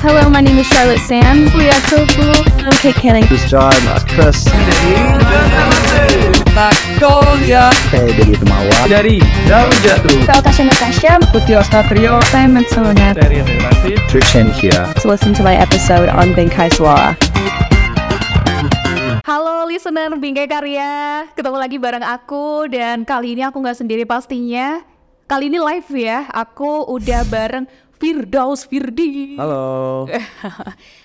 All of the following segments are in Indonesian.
Hello, my name is Charlotte Sands. We are so cool. I'm Kate Canning. This is John. That's Chris. Magnolia Saya dari Temawa. dari daun jatuh Natasha Natasha. Putri Ostatrio Simon Solonet. dari Relasi Trishan here. To listen to my episode on Bingkai Suara. Halo listener Bingkai Karya, ketemu lagi bareng aku dan kali ini aku nggak sendiri pastinya. Kali ini live ya, aku udah bareng Firdaus Firdi Halo. Eh,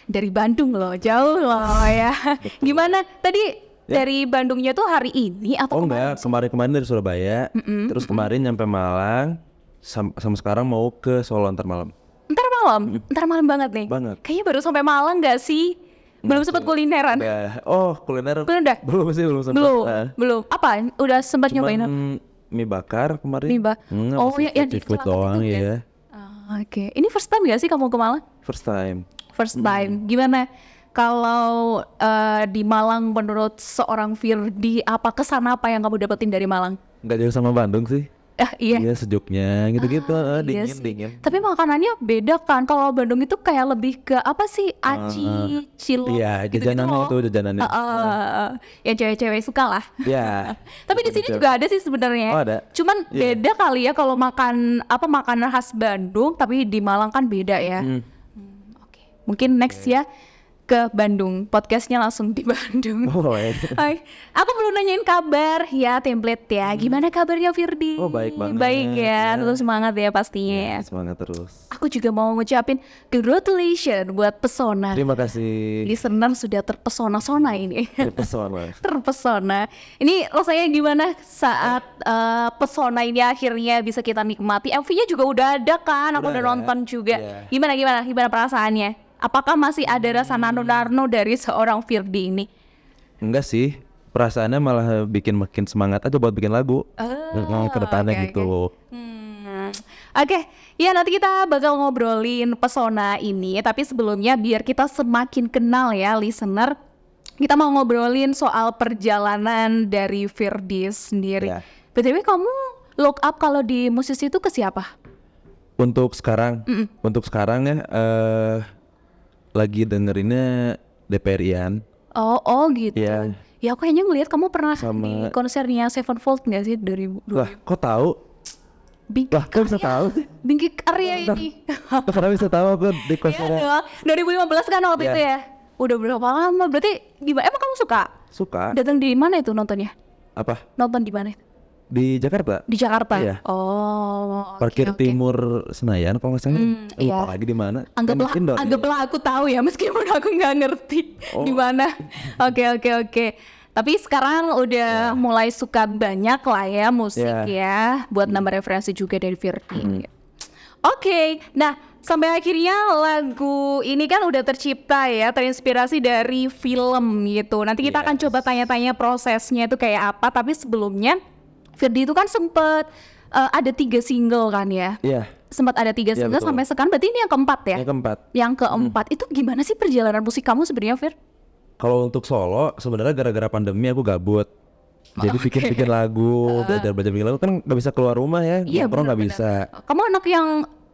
dari Bandung loh, jauh loh ya. Gimana tadi dari Bandungnya tuh hari ini Ya. atau Oh kemarin? enggak, kemarin-kemarin dari Surabaya. Terus kemarin nyampe Malang. Sam- sama sekarang mau ke Solo ntar malam. Ntar malam, ntar malam banget nih. Banget. Kayaknya baru sampai Malang nggak sih? Belum sempat kulineran. Udah. Oh kuliner. Kan? Kuliner udah? Belum sih belum sempat. Belum, Eh, belum. Apa? Udah sempat cuman, nyobain apa? mm, mie bakar kemarin. Hmm, Mie bak- Enggak, Oh, masih ya- yang di food Cilacap itu doang kan? ya. Ah, Oke, ini first time gak sih kamu ke Malang? First time. First time, gimana? Kalau eh, di Malang menurut seorang Firdi, apa kesan apa yang kamu dapetin dari Malang? Enggak jauh sama Bandung sih. Eh iya, Iya sejuknya gitu-gitu. eh, iya dingin sih. dingin. Tapi makanannya beda kan? Kalau Bandung itu kayak lebih ke apa sih? Aci, Ah, cilok, Iya gitu-gitu jajanannya loh. itu jajanannya. Eh, eh, ya cewek-cewek suka lah. Ya. Tapi di sini juga ada sih sebenarnya. Oh, ada. Cuman Iya. beda kali ya kalau makan apa makanan khas Bandung, tapi di Malang kan beda ya. Hmm, Oke, mungkin next ya ke Bandung. Podcastnya langsung di Bandung. Oh, boleh. Hai, aku belum nanyain kabar ya template ya. Gimana kabarnya Firdi? Hmm. Oh, baik banget. Baik ya, Ya. terus semangat ya pastinya. Semangat terus. Aku juga mau ngucapin congratulations buat pesona. Terima kasih. Listener sudah terpesona-sona ini. Pesona. terpesona. Ini rasanya gimana saat eh, pesona ini akhirnya bisa kita nikmati? MV-nya juga udah ada kan? Aku Udah udah ada, nonton juga. iya. Gimana gimana gimana perasaannya? Apakah masih ada Hmm. rasa nano-nano dari seorang Firdi ini? Enggak sih, perasaannya malah bikin makin semangat aja buat bikin lagu. Nah, ke depannya Ah, oke, gitu. Hmm. Oke, ya nanti kita bakal ngobrolin pesona ini, tapi sebelumnya biar kita semakin kenal ya listener, kita mau ngobrolin soal perjalanan dari Firdi sendiri. Ya. BTW kamu look up kalau di musisi itu ke siapa? Untuk sekarang, untuk sekarang ya eh, lagi dengerinnya DPRian. Oh, oh gitu. Iya. Ya aku hanya ngelihat kamu pernah di Sama- konsernya Sevenfold nggak sih dari Lah, kok tahu? Bingki Lah, kok bisa tahu sih? Bingki Karya Lah, ini. Kok kenapa bisa tahu aku di konsernya Iya dong, 2015 kan waktu Iya. itu ya. Udah berapa lama? Berarti gimana? Emang kamu suka? suka Datang di mana itu nontonnya? apa Nonton di mana? di Jakarta? Di Jakarta. Iya. Oh. oke, Parkir oke. Timur Senayan kalau nggak salah. Hmm, Lupa iya. lagi di mana? Kan Anggaplah, indoor. anggaplah aku tahu ya meskipun aku nggak ngerti di mana. Oke oke oke. Tapi sekarang udah mulai suka banyak lah ya musik ya, buat nambah referensi juga dari Virti. Oke, nah sampai akhirnya lagu ini kan udah tercipta ya, terinspirasi dari film gitu. Nanti kita akan coba tanya-tanya prosesnya itu kayak apa. Tapi sebelumnya, Firdi itu kan sempet eh, ada tiga single kan ya? Iya, Sempat ada tiga Iya, single betul. sampai sekarang. Berarti ini yang keempat ya? yang keempat. Yang keempat itu gimana sih perjalanan musik kamu sebenarnya, Fir? Kalau untuk solo, sebenarnya gara-gara pandemi aku gabut. Jadi bikin-bikin lagu, belajar belajar bikin lagu kan nggak bisa keluar rumah ya, nongkrong nggak bisa. Kamu anak yang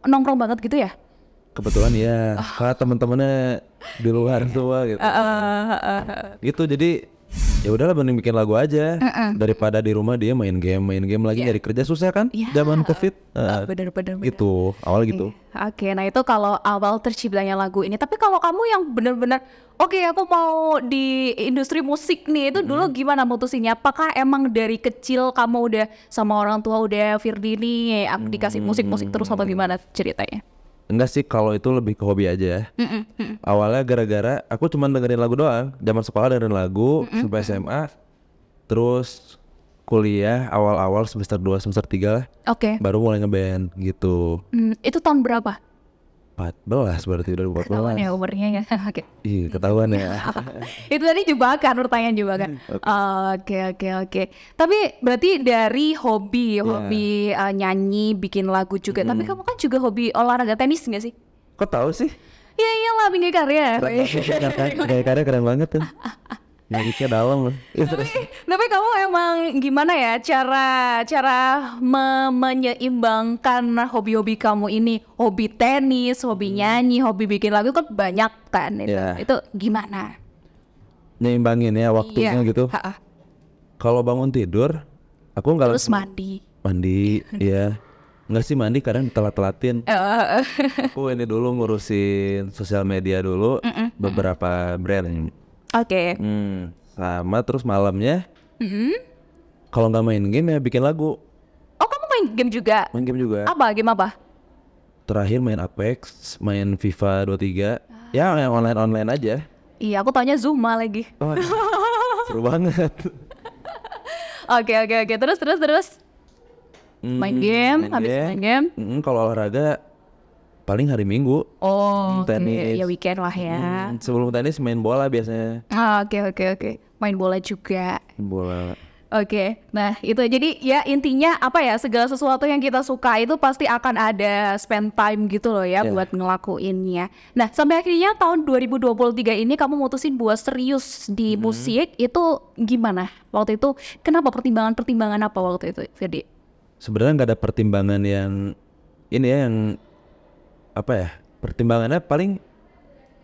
nongkrong banget gitu ya? Kebetulan ya, karena teman-temannya di luar semua gitu. Gitu jadi ya udahlah mending bikin lagu aja daripada di rumah dia main game, main game lagi nyari kerja susah kan? Iya. Ah, Zaman covid. Heeh. Bener-bener. gitu awal Nah, gitu. Oke, nah itu kalau awal terciptanya lagu ini. Tapi kalau kamu yang benar-benar, oke aku mau di industri musik nih, itu dulu gimana mutusinnya? Apakah emang dari kecil kamu udah sama orang tua udah Firdi nih, aku dikasih musik-musik terus apa gimana ceritanya? Enggak sih kalau itu lebih ke hobi aja. ya. Awalnya gara-gara aku cuma dengerin lagu doang. Zaman sekolah dengerin lagu sampai SMA. Terus kuliah awal-awal semester 2 semester 3 lah Oke, baru mulai ngeband gitu. Hmm, itu tahun berapa? 14 berarti udah Tahun 14. ya umurnya ya. Oke. Ih, ketahuan ya. itu tadi jebakan pertanyaan jebakan Hmm, oke oke oke tapi berarti dari Iya. hobi hobi uh, nyanyi bikin lagu juga tapi Hmm. kamu kan juga hobi olahraga tenis nggak sih Kok tahu sih? ya iyalah pinggir karya Keren banget. Gaya karya keren banget tuh. Liriknya dalam. Iya, tapi, tapi kamu emang gimana ya cara cara me- menyeimbangkan hobi-hobi kamu ini hobi tenis hobi nyanyi hobi bikin lagu kan banyak kan Hmm. itu Iya. itu gimana Nyimbangin ya waktunya Iya, gitu. ha-ha. Kalau bangun tidur, aku nggak terus langsung mandi mandi, ya. Nggak sih mandi kadang telat-telatin. Eh, Aku ini dulu ngurusin sosial media dulu beberapa brand. oke Hmm, sama terus malamnya. Kalau nggak main game ya bikin lagu, oh kamu main game juga main game juga. apa game apa Terakhir main Apex, main FIFA 23. Ya yang online-online aja. iya aku taunya zuma lagi Oh, seru banget. oke oke oke terus terus terus Hmm, main Hmm, game habis main game Mm, kalau olahraga paling hari Minggu. oh oke. Tenis. ya weekend lah ya Mm, sebelum tenis main bola biasanya. Ah, oke oke oke main bola juga Main Bola. Oke, nah itu jadi ya intinya apa ya segala sesuatu yang kita suka itu pasti akan ada spend time gitu loh ya Ya. buat ngelakuinnya. Nah sampai akhirnya tahun 2023 ini kamu mutusin buat serius di musik itu gimana? Waktu itu kenapa pertimbangan-pertimbangan apa waktu itu, Firdi? Sebenarnya nggak ada pertimbangan yang ini ya yang apa ya? Pertimbangannya paling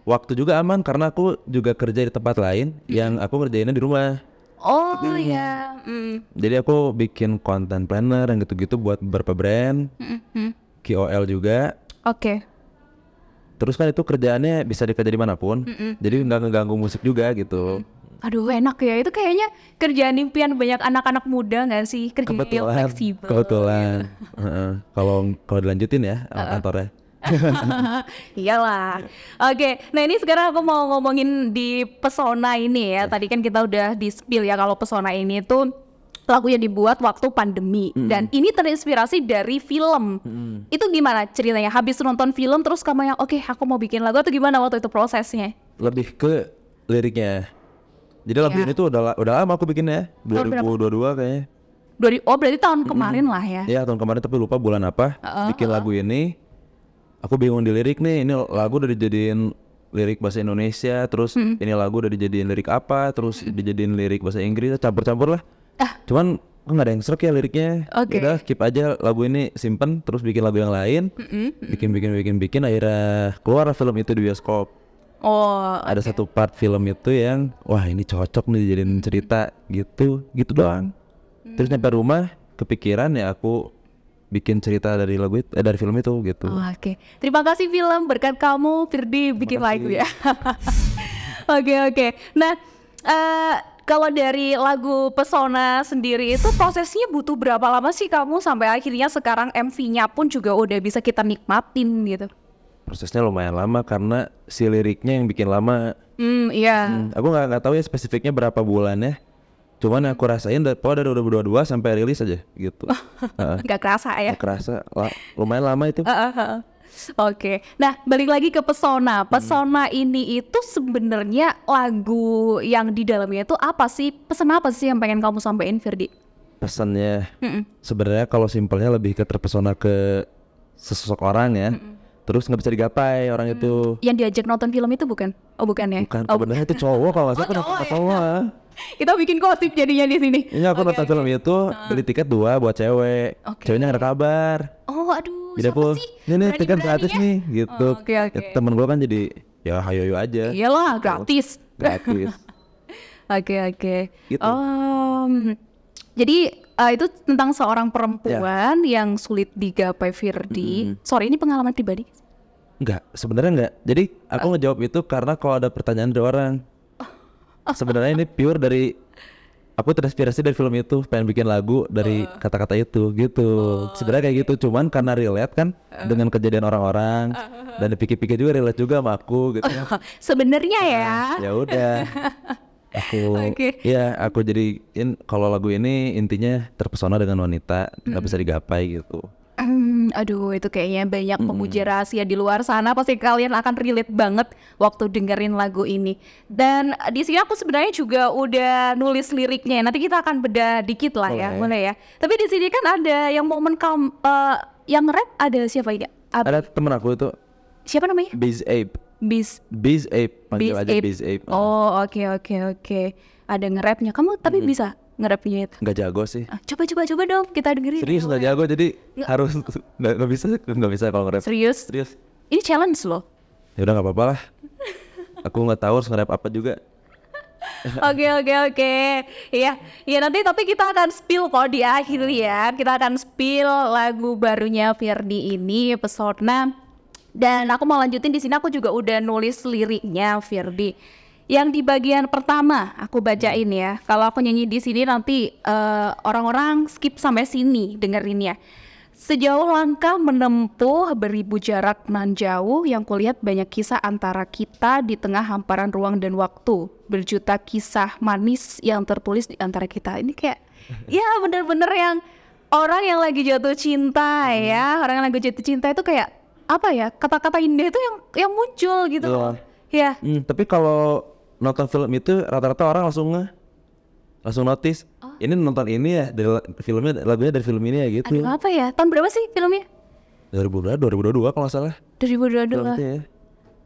waktu juga aman karena aku juga kerja di tempat lain yang aku ngerjainnya di rumah. Oh ya, mm, Jadi aku bikin konten planner yang gitu-gitu buat beberapa brand, mm, mm. KOL juga. oke, Terus kan itu kerjaannya bisa dikerja di manapun. Jadi nggak ngeganggu musik juga gitu. aduh enak ya itu kayaknya kerjaan impian banyak anak-anak muda nggak sih kerjaan yang Kebetulan, fleksibel. kebetulan. Heeh. Kalau kalau dilanjutin ya kantornya. Iyalah. Oke, nah ini sekarang aku mau ngomongin di pesona ini ya. Tadi kan kita udah di spill ya kalau pesona ini tuh lagu yang dibuat waktu pandemi dan ini terinspirasi dari film. Itu gimana ceritanya? Habis nonton film terus kamu yang oke, aku mau bikin lagu atau gimana waktu itu prosesnya? Lebih ke liriknya. Jadi lagu ini tuh udah la- udah lama aku bikinnya, 2022 kayaknya. Dari oh berarti tahun kemarin lah ya. Ya tahun kemarin tapi lupa bulan apa. bikin lagu ini, aku bingung di lirik nih. Ini lagu udah dijadiin lirik bahasa Indonesia, terus ini lagu udah dijadiin lirik apa, terus dijadiin lirik bahasa Inggris, campur-campur lah. Cuman kok nggak ada yang serak ya liriknya. Oke. Udah keep aja lagu ini simpen, terus bikin lagu yang lain, bikin bikin bikin bikin akhirnya keluar film itu di bioskop. Oh, Ada satu part film itu yang wah ini cocok nih dijadiin cerita gitu, gitu doang. Terus Hmm. nyampe rumah kepikiran ya aku bikin cerita dari lagu itu, eh, dari film itu gitu. Oh, Oke, terima kasih film berkat kamu Firdi bikin lagu ya. Oke oke. Nah, eh, kalau dari lagu Pesona sendiri itu prosesnya butuh berapa lama sih kamu sampai akhirnya sekarang MV-nya pun juga udah bisa kita nikmatin gitu. Prosesnya lumayan lama karena si liriknya yang bikin lama. Hmm, iya. Aku nggak nggak tahu ya spesifiknya berapa bulannya. Cuman yang aku rasain dari pokoknya dari 2022 sampai rilis aja gitu. Heeh. Nggak kerasa ya. Nggak kerasa la- lumayan lama itu. Heeh, heeh. Oke, nah balik lagi ke pesona. Pesona ini itu sebenarnya lagu yang di dalamnya itu apa sih? Pesan apa sih yang pengen kamu sampaikan, Firdi? Pesannya Mm-mm. sebenarnya kalau simpelnya lebih ke terpesona ke sesosok orang ya. Terus nggak bisa digapai orang itu. yang diajak nonton film itu bukan? Oh bukan ya? Bukan, Oh, sebenarnya itu cowok kalau nggak salah Oh, kenapa cowok ya? cowok. kita bikin gosip jadinya di sini. Ini aku nonton film itu beli tiket dua buat cewek. Oke. Ceweknya nggak ada kabar. Oh aduh, Beda siapa pun. sih? Ini nih tiket Berani-berani gratis ya? nih gitu. Oh, Oke oke. Iya. Ya, temen gue kan jadi ya hayo aja. Iyalah gratis. Gratis. Oke oke. Gitu. Om, jadi eh, itu tentang seorang perempuan Ya. yang sulit digapai Firdi. Sorry ini pengalaman pribadi. Enggak, sebenarnya enggak. Jadi aku ngejawab itu karena kalau ada pertanyaan dari orang. Sebenarnya ini pure dari aku terinspirasi dari film itu, pengen bikin lagu dari kata-kata itu gitu. sebenarnya kayak gitu, cuman karena relate kan dengan kejadian orang-orang dan dipikir-pikir juga relate juga sama aku gitu. Sebenarnya ya. ya udah aku Oke. ya aku jadiin kalau lagu ini intinya terpesona dengan wanita nggak bisa digapai gitu Hmm, aduh itu kayaknya banyak pemuja rahasia di luar sana pasti kalian akan relate banget waktu dengerin lagu ini dan eh, di sini aku sebenarnya juga udah nulis liriknya nanti kita akan beda dikit lah ya Boleh. boleh ya tapi di sini kan ada yang momen kam eh, yang rap ada siapa ini Ab- ada temen aku itu siapa namanya Biz Ape Bis Biz Ape panggil Biz aja Ape. Biz Ape Oh oke oke oke ada nge-rapnya. Kamu tapi bisa nge-rapnya itu. nggak jago sih Ah, iya, Coba coba coba dong kita dengerin. serius nggak jago jadi harus nggak nggak bisa nggak bisa kalau nge-rap Serius? serius Ini challenge loh. ya udah nggak apa-apa lah aku nggak tahu harus nge-rap apa juga Oke oke oke. Iya, iya nanti tapi kita akan spill kok di akhir ya. Kita akan spill lagu barunya Firdi ini Pesona. Dan aku mau lanjutin di sini aku juga udah nulis liriknya Firdi. Yang di bagian pertama aku bacain ya. Kalau aku nyanyi di sini nanti eh, orang-orang skip sampai sini dengerinnya. Sejauh langkah menempuh beribu jarak menjauh yang kulihat banyak kisah antara kita di tengah hamparan ruang dan waktu. Berjuta kisah manis yang tertulis di antara kita. Ini kayak ya bener-bener yang orang yang lagi jatuh Hmm. cinta ya. Orang yang lagi jatuh cinta itu kayak apa ya kata-kata indah itu yang yang muncul gitu. Betul. Ya. Hmm, tapi kalau nonton film itu rata-rata orang langsung nge langsung notice Oh. ini nonton ini ya dari la- filmnya lagunya dari film ini ya gitu Aduh apa ya? Tahun berapa sih filmnya? 2022 2022 kalau nggak salah 2022 film itu ya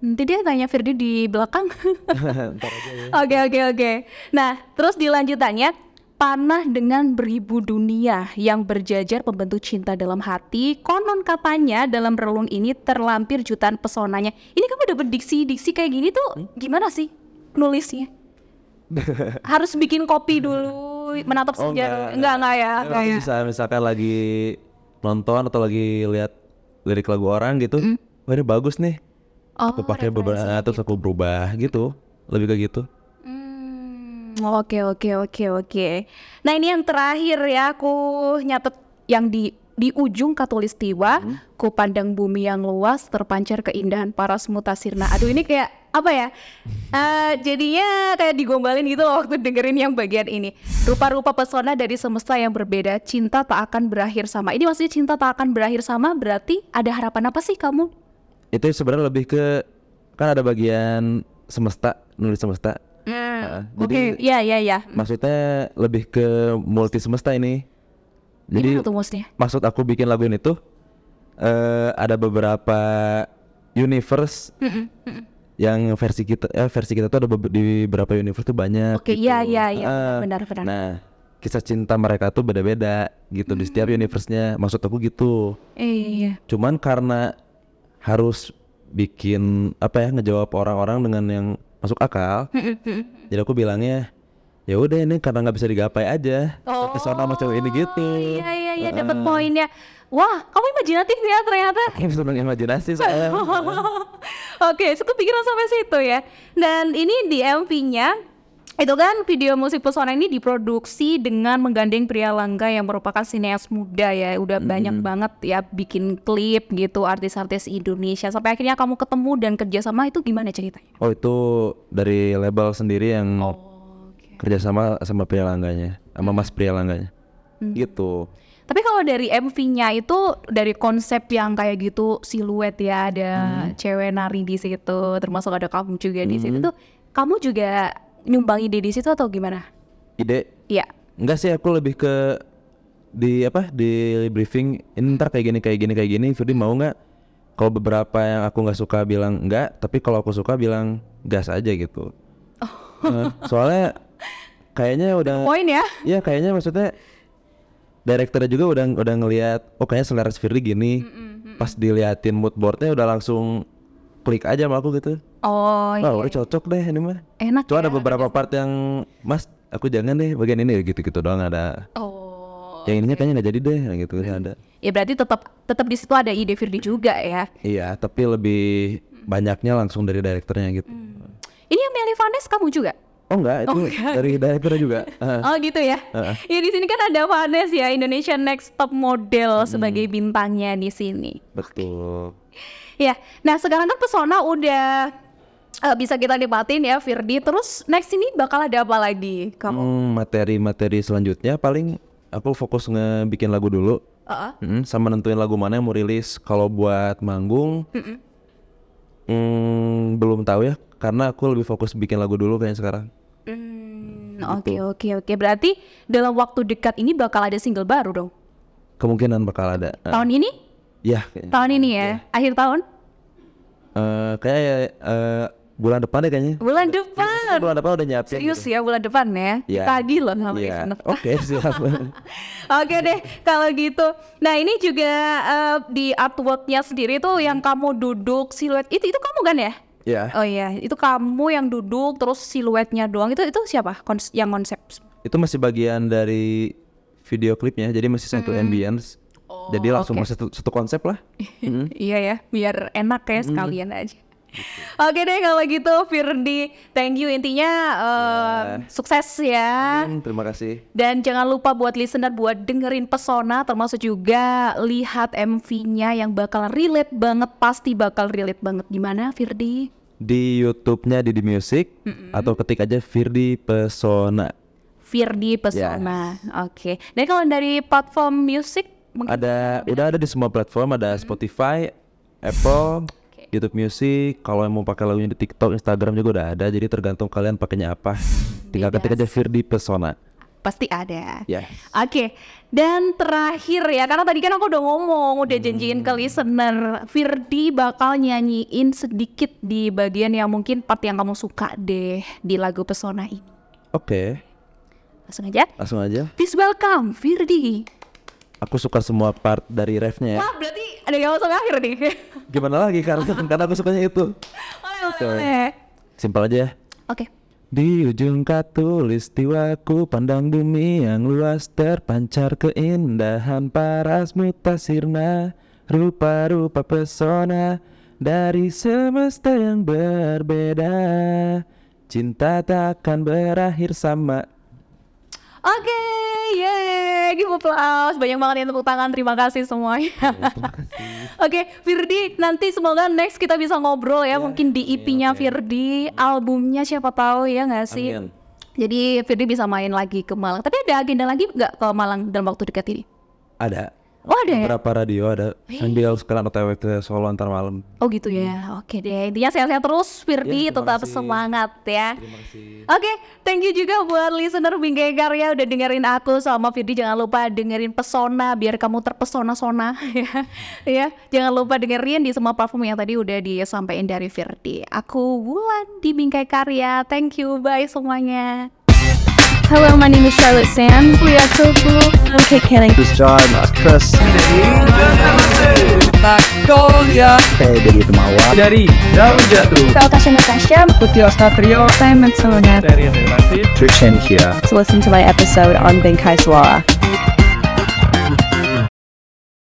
Nanti dia tanya Firdi di belakang. Ntar aja ya. Oke oke oke. Nah terus dilanjutannya panah dengan beribu dunia yang berjajar pembentuk cinta dalam hati. Konon katanya dalam relung ini terlampir jutaan pesonanya. Ini kamu dapat diksi-diksi kayak gini Hmm? tuh gimana sih nulisnya? Harus bikin kopi dulu, menatap Oh, sejarah. enggak, Enggak enggak ya. Tapi Enggak ya. bisa misalkan lagi nonton atau lagi lihat lirik lagu orang gitu wah ini bagus nih Mm. Oh, aku pakai beberapa terus aku berubah gitu lebih kayak gitu Hmm, Oke oke oke oke. Nah ini yang terakhir ya aku nyatet yang di di ujung katulistiwa, Hmm. ku pandang bumi yang luas terpancar keindahan paras mutasirna. Aduh ini kayak apa ya? Eh, jadinya kayak digombalin gitu loh waktu dengerin yang bagian ini. Rupa-rupa pesona dari semesta yang berbeda, cinta tak akan berakhir sama. Ini maksudnya cinta tak akan berakhir sama berarti ada harapan apa sih kamu? itu sebenarnya lebih ke kan ada bagian semesta nulis semesta Ah, jadi Ya ya ya. maksudnya lebih ke multi semesta ini jadi Gimana tuh maksudnya? maksud aku bikin lagu ini tuh eh ada beberapa universe yang versi kita eh, versi kita tuh ada bebe- di beberapa universe tuh banyak. Oke, gitu. iya, iya, iya, Heeh. benar, benar. Nah, kisah cinta mereka tuh beda-beda gitu Mm. di setiap universe-nya. Maksud aku gitu. Eh, iya. Cuman karena harus bikin apa ya ngejawab orang-orang dengan yang masuk akal. jadi aku bilangnya ya udah ini karena nggak bisa digapai aja. Oh, Pesona sama cewek ini gitu. Iya iya iya dapat poinnya. Wah, kamu imajinatif ya ternyata. Ini sebenarnya imajinasi soalnya. Oke, so kepikiran sampai situ ya. Dan ini di MV-nya itu kan video musik pesona ini diproduksi dengan menggandeng pria langga yang merupakan sineas muda ya udah banyak banget ya bikin klip gitu artis-artis Indonesia sampai akhirnya kamu ketemu dan kerjasama itu gimana ceritanya? Oh itu dari label sendiri yang Oh, Oke. kerjasama sama pria langganya, sama mas pria langganya, Mm. gitu. Tapi kalau dari MV-nya itu dari konsep yang kayak gitu siluet ya ada Hmm. cewek nari di situ, termasuk ada kamu juga di situ tuh. Kamu juga nyumbang ide di situ atau gimana? Ide? Iya. Enggak sih aku lebih ke di apa di briefing ini ntar kayak gini kayak gini kayak gini Firdi mau nggak kalau beberapa yang aku nggak suka bilang enggak tapi kalau aku suka bilang gas aja gitu Eh, soalnya kayaknya udah Poin ya. Iya kayaknya maksudnya direkturnya juga udah udah ngelihat oh kayaknya selera si Firly gini pas diliatin mood boardnya udah langsung klik aja sama aku gitu Oh, wah udah cocok deh ini mah enak. cuma ada ya. beberapa part yang mas aku jangan deh bagian ini gitu-gitu doang ada Oh. yang ininya kayaknya nggak jadi deh nah, gitu ada Ya berarti tetap tetap di situ ada ide Firdi juga ya. iya tapi lebih banyaknya langsung dari direkturnya gitu Ini yang Meli Vanes kamu juga? oh enggak itu dari direkturnya juga Eh, Oh gitu ya. Ya di sini kan ada Vanes ya Indonesian Next Top Hmm. Model sebagai bintangnya di sini. betul Ya, nah sekarang kan pesona udah eh, bisa kita nikmatin ya Firdi. Terus next ini bakal ada apa lagi kamu? Hmm, materi-materi selanjutnya paling aku fokus ngebikin lagu dulu Heeh. Mm, sama nentuin lagu mana yang mau rilis. Kalau buat manggung, mm, belum tahu ya. Karena aku lebih fokus bikin lagu dulu kayaknya sekarang. Gitu. Hmm, Oke oke oke. Berarti dalam waktu dekat ini bakal ada single baru dong. Kemungkinan bakal ada. Eh, Tahun ini? ya, kayaknya. Tahun ini ya? Akhir tahun? Eh, kayak eh, bulan depan deh kayaknya. Bulan depan. Bulan depan udah nyiapin. Serius gitu. ya bulan depan ya. Iya. Tadi loh sama Iya. Isnet. Oke, siap. Oke deh kalau gitu. Nah ini juga eh, di artworknya sendiri tuh yang Hmm. kamu duduk siluet itu itu kamu kan ya? ya, Oh iya itu kamu yang duduk terus siluetnya doang itu itu siapa Kons- yang konsep? itu masih bagian dari video klipnya, jadi masih satu ambience. jadi langsung Oh, oke. satu, satu konsep lah. Iya ya, biar enak ya sekalian aja. Oke deh kalau gitu Firdi, thank you intinya eh, sukses ya. Hmm, terima kasih. Dan jangan lupa buat listener buat dengerin pesona termasuk juga lihat MV-nya yang bakal relate banget pasti bakal relate banget di mana Firdi? Di YouTube-nya Didi Music atau ketik aja Firdi Pesona. Firdi pesona. Oke. Dan kalau dari platform music mungkin Ada udah ada di semua platform, ada Spotify, Apple, YouTube Music. Kalau yang mau pakai lagunya di TikTok, Instagram juga udah ada. Jadi tergantung kalian pakainya apa. Tinggal ketik aja Firdi Pesona. pasti ada. Ya. Oke, dan terakhir ya, karena tadi kan aku udah ngomong, udah janjiin ke listener, Firdi bakal nyanyiin sedikit di bagian yang mungkin part yang kamu suka deh di lagu Pesona ini. Oke, Langsung aja, langsung aja. please welcome Firdi. Aku suka semua part dari refnya ya. Wah, berarti ada yang langsung akhir nih. Gimana lagi karena karena aku sukanya itu. oleh, oleh, oleh. Simpel aja ya. Oke, Di ujung katulistiwaku pandang bumi yang luas terpancar keindahan paras mutasirna rupa-rupa pesona dari semesta yang berbeda cinta takkan berakhir sama oke, yeay, give applause. Banyak banget yang tepuk tangan, terima kasih semuanya. Oke, Firdi, nanti semoga next kita bisa ngobrol ya, mungkin di EP-nya Firdi, albumnya siapa tahu ya nggak sih? Amin. Jadi Firdi bisa main lagi ke Malang. Tapi ada agenda lagi nggak ke Malang dalam waktu dekat ini? ada Oh ada ya? beberapa radio ada sambil sekarang otw ke Solo antar malam Oh gitu ya. Oke deh. Intinya sehat-sehat terus Firdi tetap semangat ya. Oke, thank you juga buat listener Bingkai Karya udah dengerin aku sama Firdi. Jangan lupa dengerin Pesona biar kamu terpesona-sona ya. ya. Jangan lupa dengerin di semua platform yang tadi udah disampaikan dari Firdi. Aku Wulan di Bingkai Karya. Thank you. Bye semuanya. Hello, my name is Charlotte Sands. We are so cool. Okay, Canning. This John, Mas Chris, Magnolia saya dari Temawa. dari Daun Jatuh. Natasha Natasha. Putih Ostatrio, Simon Sonia. Trishan here. To listen to my episode on Benkai Suara.